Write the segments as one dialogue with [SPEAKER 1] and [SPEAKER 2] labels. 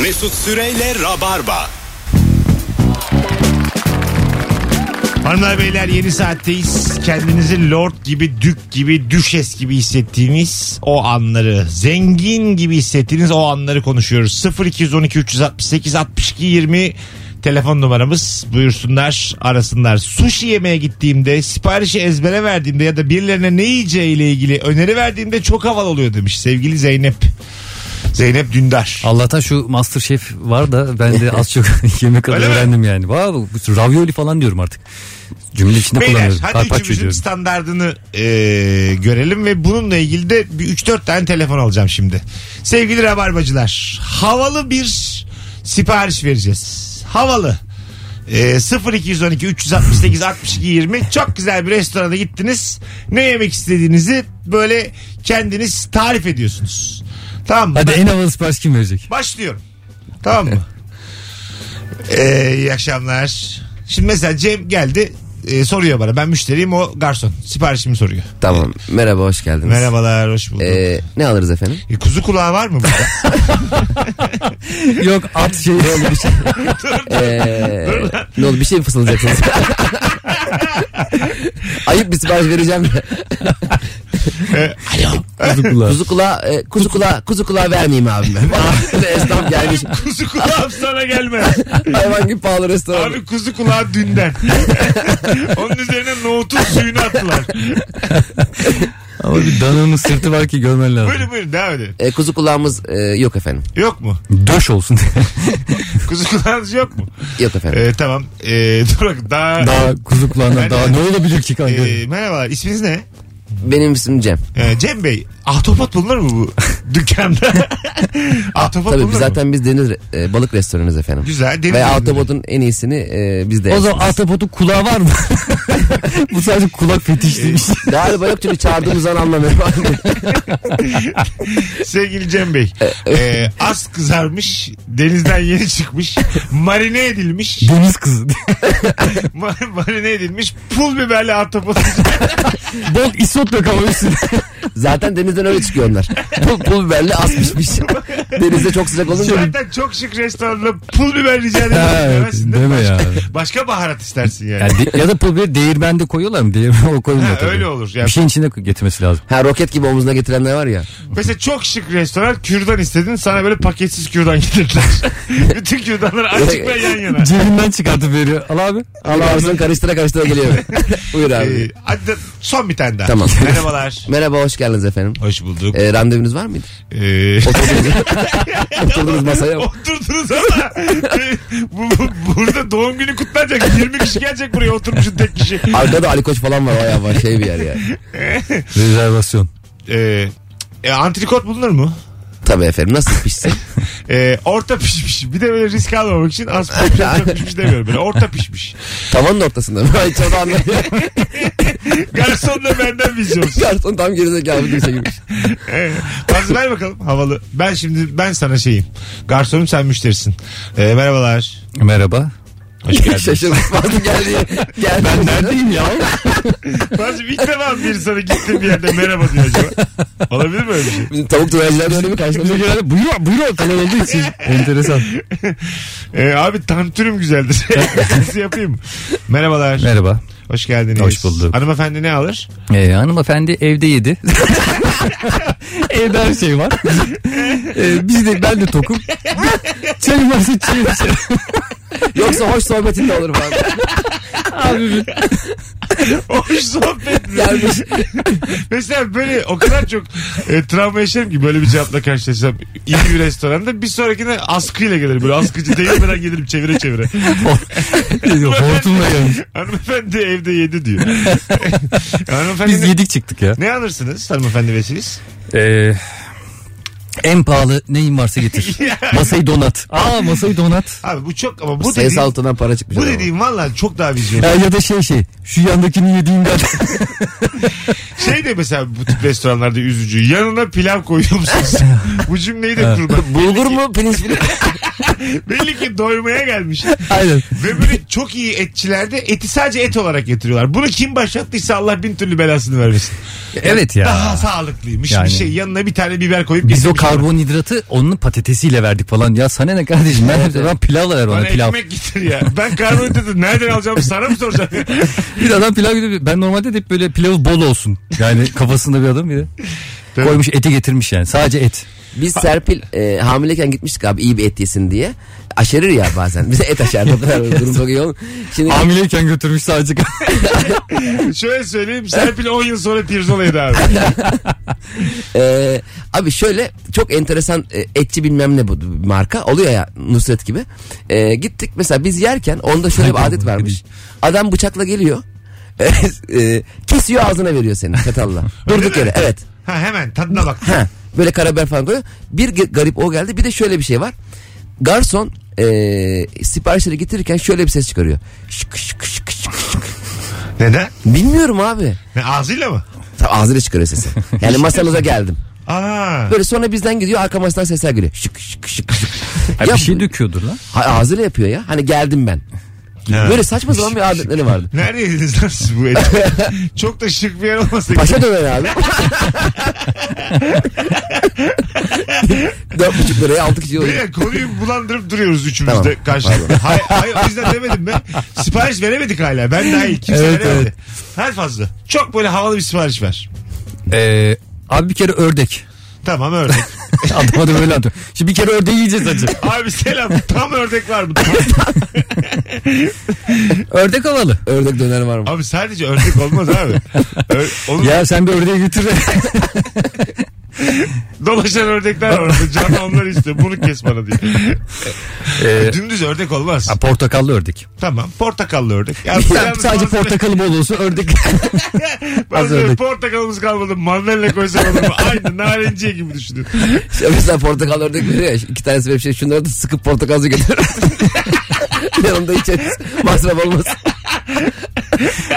[SPEAKER 1] Mesut Süreyle Rabarba.
[SPEAKER 2] Hanımlar beyler yeni saatteyiz. Kendinizi lord gibi, dük gibi, düşes gibi hissettiğiniz o anları, zengin gibi hissettiğiniz o anları konuşuyoruz. 0212 368 62 20 telefon numaramız. Buyursunlar, arasınlar. Sushi yemeye gittiğimde, siparişi ezbere verdiğimde ya da birilerine ne yiyeceğiyle ilgili öneri verdiğimde çok havalı oluyor demiş sevgili Zeynep. Zeynep Dündar.
[SPEAKER 3] Allah'tan şu Masterchef var da ben de az çok yemek adı
[SPEAKER 2] Öyle mi?
[SPEAKER 3] öğrendim yani. Vay, bu- bu ravioli falan diyorum artık. Cümle içinde
[SPEAKER 2] Beyler
[SPEAKER 3] kullanıyorum.
[SPEAKER 2] hadi
[SPEAKER 3] Carpaccio
[SPEAKER 2] üçümüzün
[SPEAKER 3] diyorum.
[SPEAKER 2] standardını e, görelim ve bununla ilgili de 3-4 tane telefon alacağım şimdi. Sevgili Rabarbacılar havalı bir sipariş vereceğiz. Havalı. E, 0212 368 62 20 çok güzel bir restorana gittiniz. Ne yemek istediğinizi böyle kendiniz tarif ediyorsunuz. Tamam mı?
[SPEAKER 3] Hadi
[SPEAKER 2] Ben
[SPEAKER 3] en havalı sipariş kim verecek?
[SPEAKER 2] başlıyorum. Tamam mı? E, iyi akşamlar. Şimdi mesela Cem geldi e, soruyor bana ben müşteriyim o garson siparişimi soruyor.
[SPEAKER 4] Tamam. Merhaba hoş geldiniz.
[SPEAKER 2] Merhabalar, hoş bulduk.
[SPEAKER 4] Ee, ne alırız efendim?
[SPEAKER 2] E, kuzu kulağı var mı burada?
[SPEAKER 3] Yok at şey öyle bir şey.
[SPEAKER 4] Ee, ne oldu bir şey mi fısıldayacaksınız? Ayıp bir sipariş vereceğim de.
[SPEAKER 3] Kuzu kulağı.
[SPEAKER 4] Kuzu kulağı, e, kuzu kulağı, kuzu kulağı vermeyeyim abi ben. Abi, Esnaf gelmiş.
[SPEAKER 2] kuzu kulağım sana gelmez.
[SPEAKER 4] Hayvan gibi pahalı restoran.
[SPEAKER 2] Abi kuzu kulağı dünden. Onun üzerine nohutun suyunu attılar.
[SPEAKER 3] Ama bir dananın sırtı var ki görmen lazım.
[SPEAKER 2] Buyurun buyurun devam edin.
[SPEAKER 4] E, kuzu kulağımız e, yok efendim.
[SPEAKER 2] Yok mu?
[SPEAKER 3] Döş olsun diye.
[SPEAKER 2] Kuzu kulağınız yok mu?
[SPEAKER 4] Yok efendim.
[SPEAKER 2] E, tamam. E, dur bak daha...
[SPEAKER 3] daha kuzu kulağından
[SPEAKER 2] Ben-
[SPEAKER 3] daha ne olabilir ki kanka?
[SPEAKER 2] E, merhabalar isminiz ne?
[SPEAKER 4] Benim isim Cem.
[SPEAKER 2] E, Cem Bey ahtapot bulunur mu bu dükkanda? ahtapot
[SPEAKER 4] Tabii
[SPEAKER 2] bulunur
[SPEAKER 4] biz
[SPEAKER 2] mu?
[SPEAKER 4] zaten biz deniz e, balık restoranız efendim.
[SPEAKER 2] Güzel. deniz
[SPEAKER 4] Ve
[SPEAKER 2] ürünleri.
[SPEAKER 4] Autobot'un en iyisini e, biz de
[SPEAKER 3] o zaman ahtapotun kulağı var mı? Bu sadece kulak şey. fetişliymiş.
[SPEAKER 2] Ee,
[SPEAKER 4] Galiba yok çünkü çağırdığımız an anlamıyorum.
[SPEAKER 2] Sevgili Cem Bey. e, az kızarmış. Denizden yeni çıkmış. Marine edilmiş.
[SPEAKER 3] Deniz kızı.
[SPEAKER 2] Mar- marine edilmiş pul biberli ahtapot.
[SPEAKER 3] Bol isotla kavuşsun.
[SPEAKER 4] Zaten denizden öyle çıkıyor onlar. Pul, pul biberli az pişmiş. Denizde çok sıcak olunca
[SPEAKER 2] Zaten çok şık restoranda pul biber rica ederim.
[SPEAKER 3] Ha, evet,
[SPEAKER 2] Demezsin değil mi?
[SPEAKER 3] deme ya.
[SPEAKER 2] Başka baharat istersin yani.
[SPEAKER 3] Yani de- ya da pul biberi değirmende koyuyorlar mı? Değirmen o koyulmuyor
[SPEAKER 2] Ha,
[SPEAKER 3] tabii.
[SPEAKER 2] öyle olur. Yani-
[SPEAKER 3] Bir şey- şeyin içine getirmesi lazım.
[SPEAKER 4] Ha roket gibi omuzuna getirenler var ya.
[SPEAKER 2] Mesela çok şık restoran kürdan istedin sana böyle paketsiz kürdan getirdiler. Bütün kürdanlar açık ve yan yana.
[SPEAKER 3] Cebinden çıkartıp veriyor. Al abi.
[SPEAKER 4] Allah arasını karıştıra karıştıra geliyor. Buyur
[SPEAKER 2] Ee,
[SPEAKER 4] abi.
[SPEAKER 2] hadi de- son bir tane daha.
[SPEAKER 4] Tamam.
[SPEAKER 2] Merhabalar.
[SPEAKER 4] Merhaba hoş geldiniz efendim.
[SPEAKER 2] Hoş bulduk.
[SPEAKER 4] E, randevunuz var mıydı?
[SPEAKER 2] Ee,
[SPEAKER 4] Oturdunuz, oturdunuz masaya.
[SPEAKER 2] oturdunuz ama e, bu, bu- burada doğum günü kutlanacak. 20 kişi gelecek buraya oturmuşun tek kişi.
[SPEAKER 4] Arkada Ali Koç falan var bayağı var şey bir yer ya.
[SPEAKER 3] Rezervasyon.
[SPEAKER 2] Ee, e, antrikot bulunur mu?
[SPEAKER 4] Tabii efendim nasıl pişsin?
[SPEAKER 2] Ee, orta pişmiş. Bir de böyle risk almamak için az pişmiş, orta pişmiş demiyorum. Böyle orta pişmiş.
[SPEAKER 4] Tavanın ortasında. mı? Hiç onu anlamıyorum.
[SPEAKER 2] Garson da benden vizyonsuz.
[SPEAKER 4] Garson tam gerizekalı bir kimse girmiş.
[SPEAKER 2] Ee, Fazla ver bakalım havalı. Ben şimdi ben sana şeyim. Garsonum sen müşterisin. Ee, merhabalar.
[SPEAKER 3] Merhaba.
[SPEAKER 2] Hoş geldin.
[SPEAKER 4] Şaşırdım. Fazla geldi. geldi. Ben
[SPEAKER 3] Neredeyim ya?
[SPEAKER 2] Fazlacığım ilk defa bir sana gittiğim bir yerde merhaba diyor acaba. Olabilir mi öyle bir şey?
[SPEAKER 4] Bizim tavuk dönerciler böyle mi
[SPEAKER 3] Bize
[SPEAKER 4] karşılamış?
[SPEAKER 3] genelde buyur buyur falan olduğu için. Enteresan.
[SPEAKER 2] Ee, abi tantürüm güzeldir. Nasıl yapayım? mı? Merhabalar.
[SPEAKER 3] Merhaba.
[SPEAKER 2] Hoş geldiniz.
[SPEAKER 3] Hoş bulduk.
[SPEAKER 2] Hanımefendi ne alır?
[SPEAKER 3] Ee, hanımefendi evde yedi. Evde her şey var. Ee, biz de ben de tokum. Çayım varsa çayım içerim.
[SPEAKER 4] Yoksa hoş sohbetin de olur falan.
[SPEAKER 2] Hoş sohbet.
[SPEAKER 4] Gelmiş.
[SPEAKER 2] Mesela böyle o kadar çok e, travma yaşarım ki böyle bir cevapla karşılaşsam iyi bir restoranda bir sonrakine askıyla gelirim. Böyle askıcı değmeden gelirim çevire çevire.
[SPEAKER 3] Hortumla gelmiş.
[SPEAKER 2] hanımefendi evde yedi diyor. hanımefendi
[SPEAKER 3] Biz
[SPEAKER 2] ne,
[SPEAKER 3] yedik çıktık ya.
[SPEAKER 2] ne alırsınız hanımefendi ve siz?
[SPEAKER 3] Ee, en pahalı neyin varsa getir. masayı donat. Aa masayı donat.
[SPEAKER 2] Abi bu çok ama bu
[SPEAKER 4] Ses
[SPEAKER 2] dediğin,
[SPEAKER 4] altından para çıkmış.
[SPEAKER 2] bu
[SPEAKER 4] adama.
[SPEAKER 2] dediğin valla çok daha vizyon.
[SPEAKER 3] Ya, ya da şey şey şu yandakini yediğinden
[SPEAKER 2] Şey de mesela bu tip restoranlarda üzücü. Yanına pilav koyuyor musunuz? bu cümleyi de kurmak.
[SPEAKER 4] Bulgur mu pirinç mi?
[SPEAKER 2] Belli ki doymaya gelmiş.
[SPEAKER 3] aynen
[SPEAKER 2] Ve böyle çok iyi etçilerde eti sadece et olarak getiriyorlar. Bunu kim başlattıysa Allah bin türlü belasını vermesin.
[SPEAKER 3] evet ya
[SPEAKER 2] Daha sağlıklıymış
[SPEAKER 3] Yani.
[SPEAKER 2] bir şey. Yanına bir tane biber koyup
[SPEAKER 3] biz o
[SPEAKER 2] getirmişler.
[SPEAKER 3] karbonhidratı onun patatesiyle verdik falan. Ya sana ne kardeşim ben, ben pilavla ver bana,
[SPEAKER 2] Bana
[SPEAKER 3] pilav.
[SPEAKER 2] ekmek getir ya. Ben karbonhidratı nereden alacağım sana mı soracağım?
[SPEAKER 3] Bir adam pilav gidiyor. Ben normalde de hep böyle pilavı bol olsun. Yani kafasında bir adam bir de. Koymuş eti getirmiş yani. Sadece et.
[SPEAKER 4] Biz Serpil e, hamileyken gitmiştik abi iyi bir et yesin diye. Aşerir ya bazen. Bize et aşerdi o kadar durum çok iyi olmuyor. Şimdi
[SPEAKER 3] Hamileyken götürmüş sadece.
[SPEAKER 2] Şöyle söyleyeyim. Serpil 10 yıl sonra Tirzola'ydı abi.
[SPEAKER 4] e, abi şöyle çok enteresan e, etçi bilmem ne bu marka oluyor ya Nusret gibi. E, gittik mesela biz yerken onda şöyle bir adet varmış. Adam bıçakla geliyor. E, kesiyor ağzına veriyor seni çatalla. Durduk yere evet.
[SPEAKER 2] Ha hemen tadına bak.
[SPEAKER 4] Ha, böyle karabiber falan koyuyor. Bir ge- garip o geldi. Bir de şöyle bir şey var. Garson eee siparişleri getirirken şöyle bir ses çıkarıyor. Şık şık şık şık şık.
[SPEAKER 2] Neden?
[SPEAKER 4] Bilmiyorum abi.
[SPEAKER 2] Ne, ağzıyla mı?
[SPEAKER 4] Ta ağzıyla çıkarıyor sesi. Yani masanıza geldim.
[SPEAKER 2] Aa.
[SPEAKER 4] Böyle sonra bizden gidiyor arka masadan sesler geliyor. Şık şık şık şık.
[SPEAKER 3] Ya,
[SPEAKER 4] Ya
[SPEAKER 3] bir şey
[SPEAKER 4] bu-
[SPEAKER 3] döküyordur lan.
[SPEAKER 4] ha- ağzıyla yapıyor ya. Hani geldim ben.
[SPEAKER 2] Ha.
[SPEAKER 4] Böyle saçma sapan bir adetleri vardı.
[SPEAKER 2] Nerede yediniz lan siz bu eti? Çok da şık bir yer olmasa gerek.
[SPEAKER 4] Paşa döner abi. Dört buçuk liraya altı kişi oluyor.
[SPEAKER 2] Beyler konuyu bulandırıp duruyoruz üçümüz
[SPEAKER 4] Tamam.
[SPEAKER 2] de karşılıklı. Hayır, hayır o yüzden demedim ben. Sipariş veremedik hala. Ben dahil kimse
[SPEAKER 3] Evet,
[SPEAKER 2] veremedi.
[SPEAKER 3] evet.
[SPEAKER 2] Her fazla. Çok böyle havalı bir sipariş ver.
[SPEAKER 3] Ee, abi bir kere ördek.
[SPEAKER 2] Tamam ördek.
[SPEAKER 3] Adama da böyle atıyor. Şimdi bir kere ördeği yiyeceğiz acı.
[SPEAKER 2] Abi selam. Tam ördek var mı?
[SPEAKER 3] Ördek havalı.
[SPEAKER 4] Ördek döner var mı?
[SPEAKER 2] Abi sadece ördek olmaz abi. Ö- onun
[SPEAKER 3] Ya sen bir ördeği götür.
[SPEAKER 2] dolaşan ördekler var orada. Canlı onlar istiyor. Bunu kes bana diye.
[SPEAKER 3] Ee,
[SPEAKER 2] Dümdüz ördek olmaz.
[SPEAKER 3] ha, portakallı ördek.
[SPEAKER 2] Tamam. Portakallı ördek. Ya,
[SPEAKER 3] Ya,
[SPEAKER 2] yalnız
[SPEAKER 3] sadece
[SPEAKER 2] bazıları-
[SPEAKER 3] portakalı bol olsun ördek. az
[SPEAKER 2] Bazıları
[SPEAKER 3] ördek.
[SPEAKER 2] portakalımız kalmadı. Mandalina koysak olur mu? Aynı narenciye gibi düşünüyorum.
[SPEAKER 4] Ya mesela portakal ördek veriyor ya. İki tanesi böyle bir şey. Şunları da sıkıp portakal suyu getir. Yanımda içeriz. Masraf olmasın.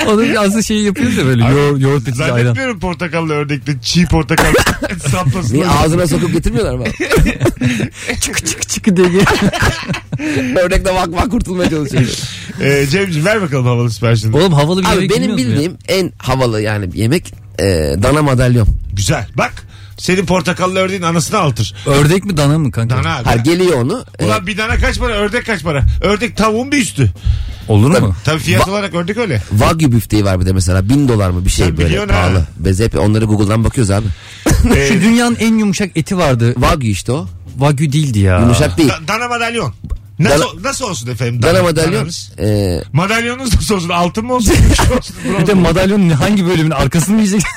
[SPEAKER 3] Onun aslında şeyi yapıyoruz ya böyle yoğur, yoğurt etici ayran.
[SPEAKER 2] Zannetmiyorum portakallı ördekte çiğ portakal saplasın.
[SPEAKER 4] Niye ağzına sokup getirmiyorlar mı?
[SPEAKER 3] Çık çık çık diye geliyor.
[SPEAKER 4] Ördek de vak vak kurtulmaya çalışıyor.
[SPEAKER 2] Ee, Cemciğim ver bakalım havalı siparişini.
[SPEAKER 3] Oğlum havalı bir yere
[SPEAKER 4] Abi benim
[SPEAKER 3] girmiyoruz mu ya?
[SPEAKER 4] bildiğim en havalı yani yemek e, dana madalyon.
[SPEAKER 2] Güzel. Bak senin portakallı ördeğin anasını altır.
[SPEAKER 3] Ördek mi dana mı kanka?
[SPEAKER 2] Dana abi.
[SPEAKER 4] Her geliyor onu. e,
[SPEAKER 2] Ulan bir dana kaç para? Ördek kaç para? Ördek tavuğun bir üstü.
[SPEAKER 3] Olur mu?
[SPEAKER 2] Tabii fiyat olarak ördek öyle.
[SPEAKER 4] Wagyu büfteği var bir de mesela. Bin dolar mı bir şey
[SPEAKER 2] Sen
[SPEAKER 4] böyle
[SPEAKER 2] biliyorsun ha.
[SPEAKER 4] pahalı. Biz hep onları Google'dan bakıyoruz abi.
[SPEAKER 3] Şu dünyanın en yumuşak eti vardı.
[SPEAKER 4] Wagyu işte o.
[SPEAKER 3] Wagyu değildi ya.
[SPEAKER 4] Yumuşak değil.
[SPEAKER 2] Da- dana madalyon. Nasıl, nasıl olsun efendim?
[SPEAKER 4] Dana madalyon.
[SPEAKER 2] dananız?
[SPEAKER 4] e,
[SPEAKER 2] Madalyonunuz nasıl olsun? Altın mı olsun? Gümüş mü olsun? Bronz
[SPEAKER 3] Bir de
[SPEAKER 2] mu?
[SPEAKER 3] madalyonun hangi bölümünün arkasını mı yiyeceksin?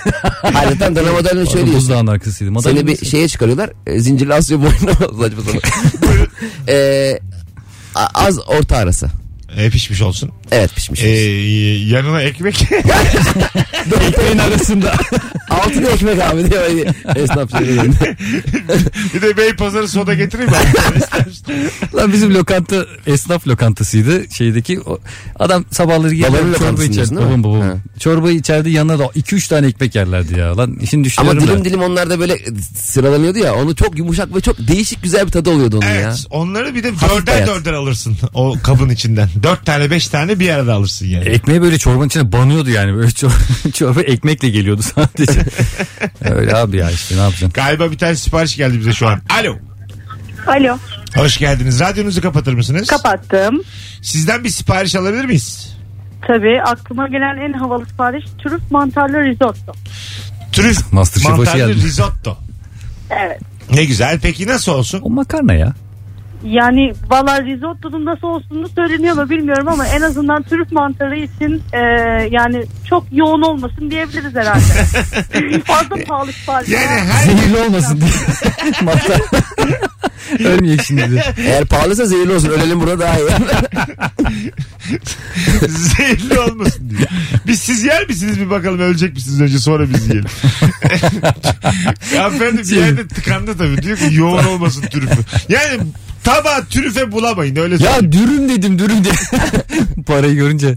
[SPEAKER 4] Harbiden e, dana madalyonu şöyle yiyorsun.
[SPEAKER 3] Buzdağın arkasıydı. Madalyon
[SPEAKER 4] Seni bir
[SPEAKER 3] nasıl?
[SPEAKER 4] şeye çıkarıyorlar. E, zincirli asıyor boynuna. Saçma sapan. E, a- az orta arası.
[SPEAKER 2] Ee, pişmiş olsun.
[SPEAKER 4] Evet pişmiş.
[SPEAKER 2] Ee, yanına ekmek.
[SPEAKER 3] Ekmeğin arasında.
[SPEAKER 4] Altın ekmek abi diye böyle esnaf şey söylüyor.
[SPEAKER 2] bir de bey pazarı soda getireyim mi?
[SPEAKER 3] Lan bizim lokanta esnaf lokantasıydı şeydeki. O, adam sabahları
[SPEAKER 4] Babanın
[SPEAKER 3] gelip çorba
[SPEAKER 4] lokantası diyorsun
[SPEAKER 3] içerdi.
[SPEAKER 4] değil
[SPEAKER 3] Babam
[SPEAKER 4] mi?
[SPEAKER 3] babam.
[SPEAKER 4] Ha.
[SPEAKER 3] Çorbayı içerdi yanına da 2-3 tane ekmek yerlerdi ya. Lan şimdi
[SPEAKER 4] Ama
[SPEAKER 3] düşünüyorum da.
[SPEAKER 4] dilim dilim onlar da böyle sıralanıyordu ya. Onu çok yumuşak ve çok değişik güzel bir tadı oluyordu onun ya.
[SPEAKER 2] Evet. Onları bir de
[SPEAKER 4] Hafif
[SPEAKER 2] dörder
[SPEAKER 4] beyaz.
[SPEAKER 2] dörder alırsın. O kabın içinden. Dört tane beş tane bir arada alırsın yani.
[SPEAKER 3] Ekmeği böyle çorbanın içine banıyordu yani. Böyle çor- çorba ekmekle geliyordu sadece. Öyle abi ya işte ne yapacaksın?
[SPEAKER 2] Galiba bir tane sipariş geldi bize şu an. Alo.
[SPEAKER 5] Alo.
[SPEAKER 2] Hoş geldiniz. Radyonuzu kapatır mısınız?
[SPEAKER 5] Kapattım.
[SPEAKER 2] Sizden bir sipariş alabilir miyiz?
[SPEAKER 5] Tabii aklıma gelen en havalı sipariş trüf mantarlı risotto.
[SPEAKER 2] Trüf
[SPEAKER 3] Masterchef'e hoş
[SPEAKER 2] mantarlı
[SPEAKER 3] geldin.
[SPEAKER 2] risotto.
[SPEAKER 5] Evet.
[SPEAKER 2] Ne güzel. Peki nasıl olsun?
[SPEAKER 3] O makarna ya.
[SPEAKER 5] Yani valla risottonun nasıl olduğunu söyleniyor mu bilmiyorum ama en azından trüf mantarı için e, yani çok yoğun olmasın diyebiliriz herhalde. Fazla pahalı sipariş.
[SPEAKER 2] Yani
[SPEAKER 5] Yani.
[SPEAKER 2] her
[SPEAKER 3] Zehirli olmasın diye. Makarna. Ölmeyecek şimdi diye.
[SPEAKER 4] Eğer pahalıysa zehirli olsun. Ölelim burada daha iyi.
[SPEAKER 2] zehirli olmasın diye. Biz siz yer misiniz bir bakalım ölecek misiniz önce sonra biz yiyelim. Hanımefendi bir yerde tıkandı tabii. Diyor ki yoğun olmasın trüfü. Yani tabağı trüfe bulamayın öyle söyleyeyim.
[SPEAKER 3] Ya dürüm dedim dürüm diye. Parayı görünce.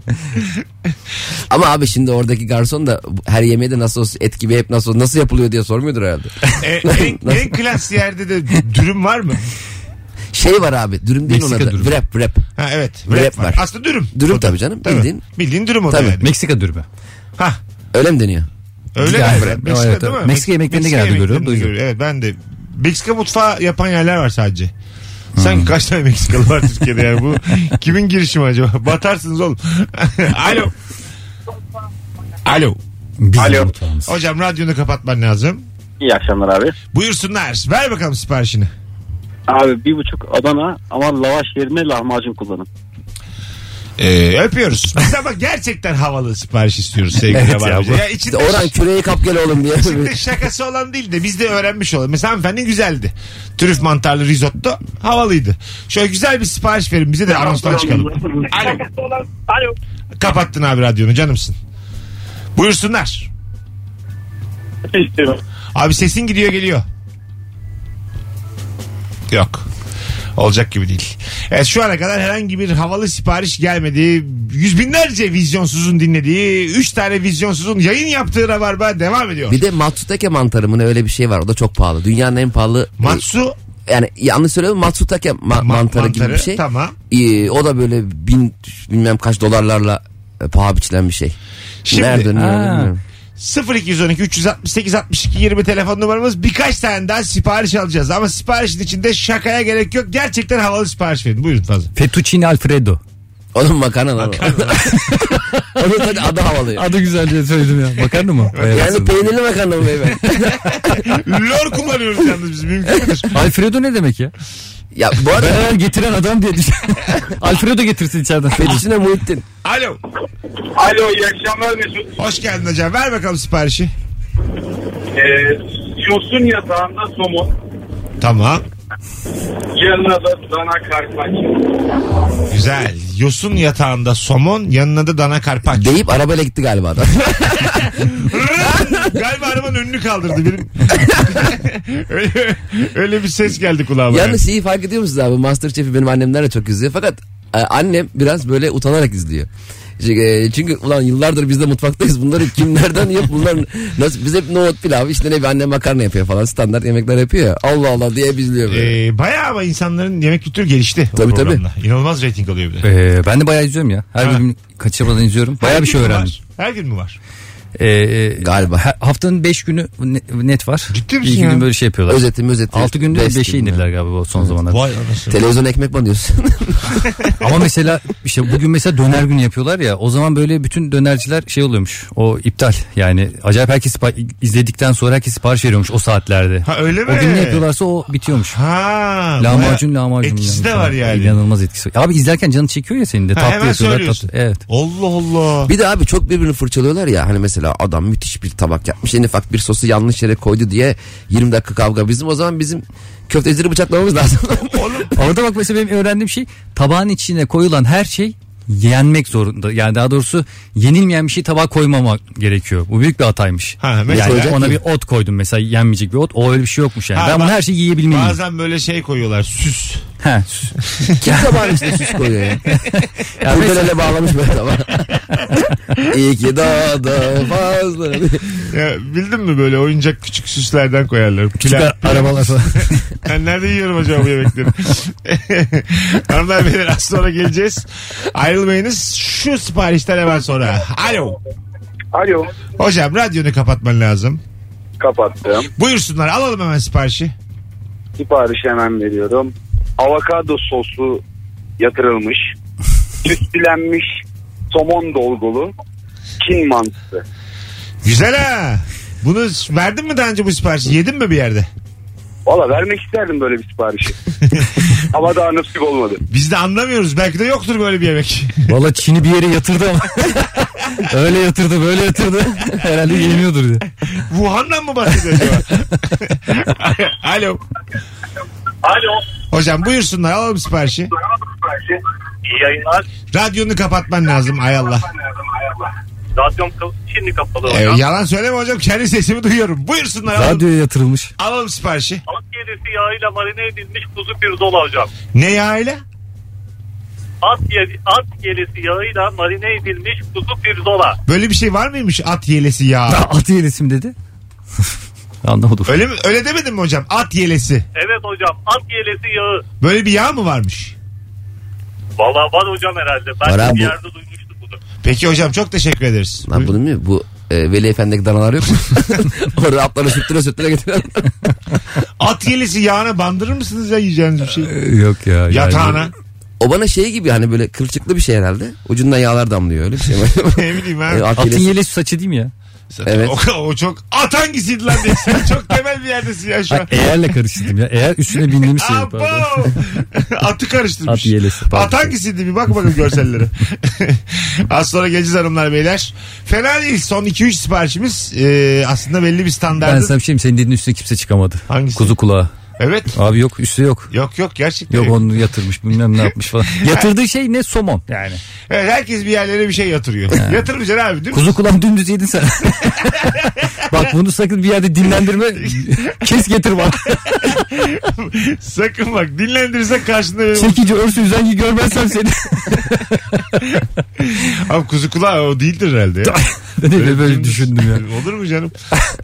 [SPEAKER 4] Ama abi şimdi oradaki garson da her yemeği de nasıl olsun et gibi hep nasıl nasıl yapılıyor diye sormuyordur herhalde.
[SPEAKER 2] E, en, en klas yerde de dürüm var mı?
[SPEAKER 4] Şey var abi dürüm değil
[SPEAKER 3] Meksika
[SPEAKER 4] ona da.
[SPEAKER 3] dürüm.
[SPEAKER 4] Wrap wrap.
[SPEAKER 2] Ha evet.
[SPEAKER 4] Wrap
[SPEAKER 2] Wrap var.
[SPEAKER 4] var.
[SPEAKER 2] Aslında dürüm. O
[SPEAKER 4] Dürüm
[SPEAKER 2] da.
[SPEAKER 4] tabii canım, bildiğin.
[SPEAKER 2] Bildiğin dürüm o da
[SPEAKER 4] Tabii.
[SPEAKER 2] yani.
[SPEAKER 3] Meksika dürümü.
[SPEAKER 2] Ha
[SPEAKER 4] Öyle mi deniyor?
[SPEAKER 2] öyle mi?
[SPEAKER 3] Yani,
[SPEAKER 2] Wrap.
[SPEAKER 3] evet, evet. Meksika yemeklerinde genelde görüyorum,
[SPEAKER 2] yemeklerinde
[SPEAKER 3] duydum.
[SPEAKER 2] görüyorum. Evet ben de Meksika mutfağı yapan yerler var sadece.
[SPEAKER 3] Hmm.
[SPEAKER 2] Sen kaç tane Meksikalı var Türkiye'de yani bu kimin girişimi acaba? Batarsınız oğlum. Alo. Alo.
[SPEAKER 6] Bizim
[SPEAKER 7] Alo.
[SPEAKER 6] mutfağımız.
[SPEAKER 2] Hocam radyonu kapatman lazım.
[SPEAKER 7] İyi akşamlar abi.
[SPEAKER 2] Buyursunlar. Ver bakalım siparişini.
[SPEAKER 7] Abi bir buçuk Adana ama lavaş yerine lahmacun kullanın.
[SPEAKER 2] Ee, öpüyoruz. Biz ama gerçekten havalı sipariş istiyoruz sevgili
[SPEAKER 3] Evet ya,
[SPEAKER 2] Rabarbacı.
[SPEAKER 3] bu-
[SPEAKER 2] ya, içinde,
[SPEAKER 4] Orhan küreği kap gel oğlum diye.
[SPEAKER 2] içinde şakası olan değil de biz de öğrenmiş olalım. Mesela hanımefendi güzeldi. Trüf mantarlı risotto havalıydı. Şöyle güzel bir sipariş verin bize de anonstan çıkalım. Alo.
[SPEAKER 5] Alo.
[SPEAKER 2] Kapattın abi radyonu canımsın. Buyursunlar.
[SPEAKER 7] İstiyorum.
[SPEAKER 2] Abi sesin gidiyor geliyor. Yok. Olacak gibi değil. Evet şu ana kadar herhangi bir havalı sipariş gelmedi. Yüz binlerce vizyonsuzun dinlediği, üç tane vizyonsuzun yayın yaptığı rabarba devam ediyor.
[SPEAKER 4] Bir de Matsutake mantarı mı ne öyle bir şey var. O da çok pahalı. Dünyanın en pahalı.
[SPEAKER 2] Matsu
[SPEAKER 4] yani yanlış söylüyorum Matsutake ma- mantarı, gibi bir şey.
[SPEAKER 2] Tamam.
[SPEAKER 4] Ee, o da böyle bin bilmem kaç dolarlarla e, paha biçilen bir şey.
[SPEAKER 2] Şimdi
[SPEAKER 4] Nerede niye
[SPEAKER 3] Ha.
[SPEAKER 4] bilmiyorum.
[SPEAKER 2] 0212 368 62 20 telefon numaramız. Birkaç tane daha sipariş alacağız. Ama siparişin içinde şakaya gerek yok. Gerçekten havalı sipariş verin. Buyurun fazla.
[SPEAKER 3] Fettuccine Alfredo.
[SPEAKER 4] Onun makarna lan. o. Onun zaten adı havalı.
[SPEAKER 3] Adı güzel diye söyledim ya. Makarna mı?
[SPEAKER 4] Yani peynirli makarna mı beyefendi?
[SPEAKER 2] Lor kullanıyoruz yalnız biz. Mümkün müdür?
[SPEAKER 3] Alfredo ne demek ya?
[SPEAKER 4] ya bu
[SPEAKER 3] Ben
[SPEAKER 4] arada
[SPEAKER 3] hemen getiren adam diye düşün. Alfredo getirsin içeriden.
[SPEAKER 4] Fetüsüne Muhittin.
[SPEAKER 2] Alo.
[SPEAKER 7] Alo iyi akşamlar Mesut.
[SPEAKER 2] Hoş geldin hocam. Ver bakalım siparişi.
[SPEAKER 7] Ee, yosun yatağında somun.
[SPEAKER 2] Tamam.
[SPEAKER 7] Yanına da dana karpaç.
[SPEAKER 2] Güzel. Yosun yatağında somon yanına da dana karpaç.
[SPEAKER 4] Deyip arabayla gitti galiba adam.
[SPEAKER 2] Galiba arabanın önünü kaldırdı benim. öyle, öyle bir ses geldi kulağıma.
[SPEAKER 4] Yalnız şeyi fark ediyor musunuz abi? Masterchef'i benim annemler de çok izliyor. Fakat e, annem biraz böyle utanarak izliyor. Çünkü, e, çünkü ulan yıllardır biz de mutfaktayız. Bunları kimlerden yap bunlar nasıl biz hep nohut pilav işte ne bir annem makarna yapıyor falan standart yemekler yapıyor ya. Allah Allah diye biz diyor böyle.
[SPEAKER 2] Ee, bayağı ama insanların yemek kültürü gelişti. o
[SPEAKER 4] Tabii, tabii.
[SPEAKER 2] programla. İnanılmaz reyting alıyor bir de.
[SPEAKER 3] Ee, ben de bayağı izliyorum ya. Her
[SPEAKER 2] Ha.
[SPEAKER 3] gün kaçırmadan izliyorum. Bayağı
[SPEAKER 2] Her
[SPEAKER 3] bir
[SPEAKER 2] gün
[SPEAKER 3] şey
[SPEAKER 2] mü
[SPEAKER 3] öğrendim.
[SPEAKER 2] var? Her gün mü var?
[SPEAKER 3] Ee,
[SPEAKER 4] Galiba.
[SPEAKER 3] ha- haftanın 5 günü ne- net var.
[SPEAKER 2] Ciddi misin
[SPEAKER 3] Bir
[SPEAKER 2] ya?
[SPEAKER 3] gün böyle şey yapıyorlar.
[SPEAKER 4] Özeti özeti.
[SPEAKER 3] 6 günde
[SPEAKER 4] Best
[SPEAKER 3] 5'e
[SPEAKER 4] gibi.
[SPEAKER 3] indirdiler galiba o son zamanlarda.
[SPEAKER 2] Vay anasını.
[SPEAKER 4] Televizyon ekmek mi diyorsun?
[SPEAKER 3] Ama mesela işte bugün mesela döner günü yapıyorlar ya o zaman böyle bütün dönerciler şey oluyormuş o iptal yani acayip herkes sipa- izledikten sonra herkes sipariş veriyormuş o saatlerde.
[SPEAKER 2] Ha öyle mi?
[SPEAKER 3] O gün ne yapıyorlarsa o bitiyormuş.
[SPEAKER 2] Ha.
[SPEAKER 3] Lahmacun lahmacun.
[SPEAKER 2] Etkisi
[SPEAKER 3] yani.
[SPEAKER 2] de var yani.
[SPEAKER 3] İnanılmaz etkisi. var. Abi izlerken canı çekiyor ya senin de
[SPEAKER 2] Ha,
[SPEAKER 3] tatlı
[SPEAKER 2] hemen
[SPEAKER 3] yapıyorlar
[SPEAKER 2] söylüyorsun.
[SPEAKER 3] tatlı. Evet.
[SPEAKER 2] Allah Allah.
[SPEAKER 4] Bir de abi çok birbirini fırçalıyorlar ya hani mesela adam müthiş bir tabak yapmış en ufak bir sosu yanlış yere koydu diye 20 dakika kavga bizim o zaman bizim köftecileri bıçaklamamız lazım.
[SPEAKER 2] Oğlum
[SPEAKER 3] Orada bak mesela benim öğrendiğim şey tabağın içine koyulan her şey yenmek zorunda. Yani daha doğrusu yenilmeyen bir şey tabağa koymama gerekiyor. Bu büyük bir hataymış.
[SPEAKER 2] Ha, mesela?
[SPEAKER 3] yani ona bir ot koydum mesela yenmeyecek bir ot. O öyle bir şey yokmuş yani.
[SPEAKER 2] Ha,
[SPEAKER 3] ben
[SPEAKER 2] ba-
[SPEAKER 3] bunu her şeyi yiyebilmeliyim.
[SPEAKER 2] bazen böyle şey koyuyorlar süs.
[SPEAKER 3] Ha.
[SPEAKER 4] Kim tabağın içine süs koyuyor ya? Kurdelele bağlamış böyle tabağı. İki dağda fazla.
[SPEAKER 2] Ya, bildin mi böyle oyuncak küçük süslerden koyarlar. Küçük
[SPEAKER 3] arabalar falan.
[SPEAKER 2] Ben nerede yiyorum acaba bu yemekleri? Hanımlar beyler az sonra geleceğiz. Ayrılmayınız. Şu siparişten hemen sonra. Alo.
[SPEAKER 7] Alo.
[SPEAKER 2] Hocam radyonu kapatman lazım.
[SPEAKER 7] Kapattım.
[SPEAKER 2] Buyursunlar alalım hemen siparişi.
[SPEAKER 7] Sipariş hemen veriyorum. Avokado sosu yatırılmış. Üstülenmiş somon dolgulu. Çin mantısı.
[SPEAKER 2] Güzel ha. Bunu verdin mi daha önce bu siparişi? Yedin mi bir yerde?
[SPEAKER 7] Valla vermek isterdim böyle bir siparişi. Ama daha nasip olmadı.
[SPEAKER 2] Biz de anlamıyoruz. Belki de yoktur böyle bir yemek.
[SPEAKER 3] Valla Çin'i bir yere yatırdı ama. öyle yatırdı böyle yatırdı. Herhalde yemiyordur diye.
[SPEAKER 2] Wuhan'dan mı bahsediyor acaba? Alo.
[SPEAKER 7] Alo.
[SPEAKER 2] Hocam buyursunlar alalım siparişi.
[SPEAKER 7] İyi yayınlar.
[SPEAKER 2] Radyonu kapatman lazım ay Allah.
[SPEAKER 7] Radyom şimdi kapalı
[SPEAKER 2] Ee, yalan söyleme hocam kendi sesimi duyuyorum. Buyursunlar alalım,
[SPEAKER 3] Radyoya yatırılmış.
[SPEAKER 2] alalım siparişi.
[SPEAKER 7] Alt yedisi yağıyla marine edilmiş kuzu pirzola hocam.
[SPEAKER 2] Ne yağıyla?
[SPEAKER 7] At, ye- at gelisi yağıyla marine edilmiş kuzu pirzola.
[SPEAKER 2] Böyle bir şey var mıymış at yelesi yağı?
[SPEAKER 3] Atı yelesim dedi. Anlamadım.
[SPEAKER 2] Öyle mi? Öyle demedim mi hocam? At yelesi.
[SPEAKER 7] Evet hocam at gelisi yağı.
[SPEAKER 2] Böyle bir yağ mı varmış?
[SPEAKER 7] Valla var hocam herhalde. Ben
[SPEAKER 4] Var
[SPEAKER 7] de
[SPEAKER 4] abi
[SPEAKER 7] bir
[SPEAKER 4] bu.
[SPEAKER 7] yerde duymuştum bunu.
[SPEAKER 2] Peki hocam çok teşekkür ederiz.
[SPEAKER 4] Lan bunu mu? Bu e, Veli Efendi'deki danalar yok mu? Orada atlara sürttüre sürttüre getiriyorum.
[SPEAKER 2] At yelisi yağına bandırır mısınız ya yiyeceğiniz bir şey?
[SPEAKER 3] Yok ya.
[SPEAKER 2] Yatağına.
[SPEAKER 4] O bana şey gibi hani böyle kırçıklı bir şey herhalde. Ucundan yağlar damlıyor öyle bir şey.
[SPEAKER 2] ne bileyim ha.
[SPEAKER 4] E, at
[SPEAKER 3] Atın
[SPEAKER 4] yelesi-
[SPEAKER 3] yelesi saçı değil mi ya?
[SPEAKER 4] Evet.
[SPEAKER 2] O, o çok at hangisiydi lan diye. Sen çok temel bir yerdesin ya şu an.
[SPEAKER 3] Eğerle karıştırdım ya. Eğer üstüne bindiğimiz şey.
[SPEAKER 2] Abo!
[SPEAKER 3] pardon.
[SPEAKER 2] Atı karıştırmış.
[SPEAKER 3] At yelesi, pardon.
[SPEAKER 2] At hangisiydi bir bak bakalım görsellere. Az sonra geleceğiz hanımlar beyler. Fena değil son 2-3 siparişimiz ee, aslında belli bir
[SPEAKER 3] Ben
[SPEAKER 2] standartın.
[SPEAKER 3] sana bir şeyim senin dediğin üstüne kimse çıkamadı.
[SPEAKER 2] Hangisi?
[SPEAKER 3] Kuzu kulağı.
[SPEAKER 2] Evet.
[SPEAKER 3] Abi yok üstü yok.
[SPEAKER 2] Yok yok gerçekten.
[SPEAKER 3] Yok
[SPEAKER 2] yok.
[SPEAKER 3] onu yatırmış bilmem ne yapmış falan. Yatırdığı şey ne somon yani.
[SPEAKER 2] Evet, herkes bir yerlere bir şey yatırıyor. Yatırmayacaksın abi değil mi?
[SPEAKER 3] Kuzu kulağını dümdüz yedin sen. Bak bunu sakın bir yerde dinlendirme. Kes getir bak.
[SPEAKER 2] Sakın bak dinlendirirsen karşında benim.
[SPEAKER 3] Çekici örsü üzengi görmezsem seni.
[SPEAKER 2] Abi kuzu kulağı o değildir herhalde. ya.
[SPEAKER 3] Ben de böyle düşündüm ya.
[SPEAKER 2] Olur mu canım?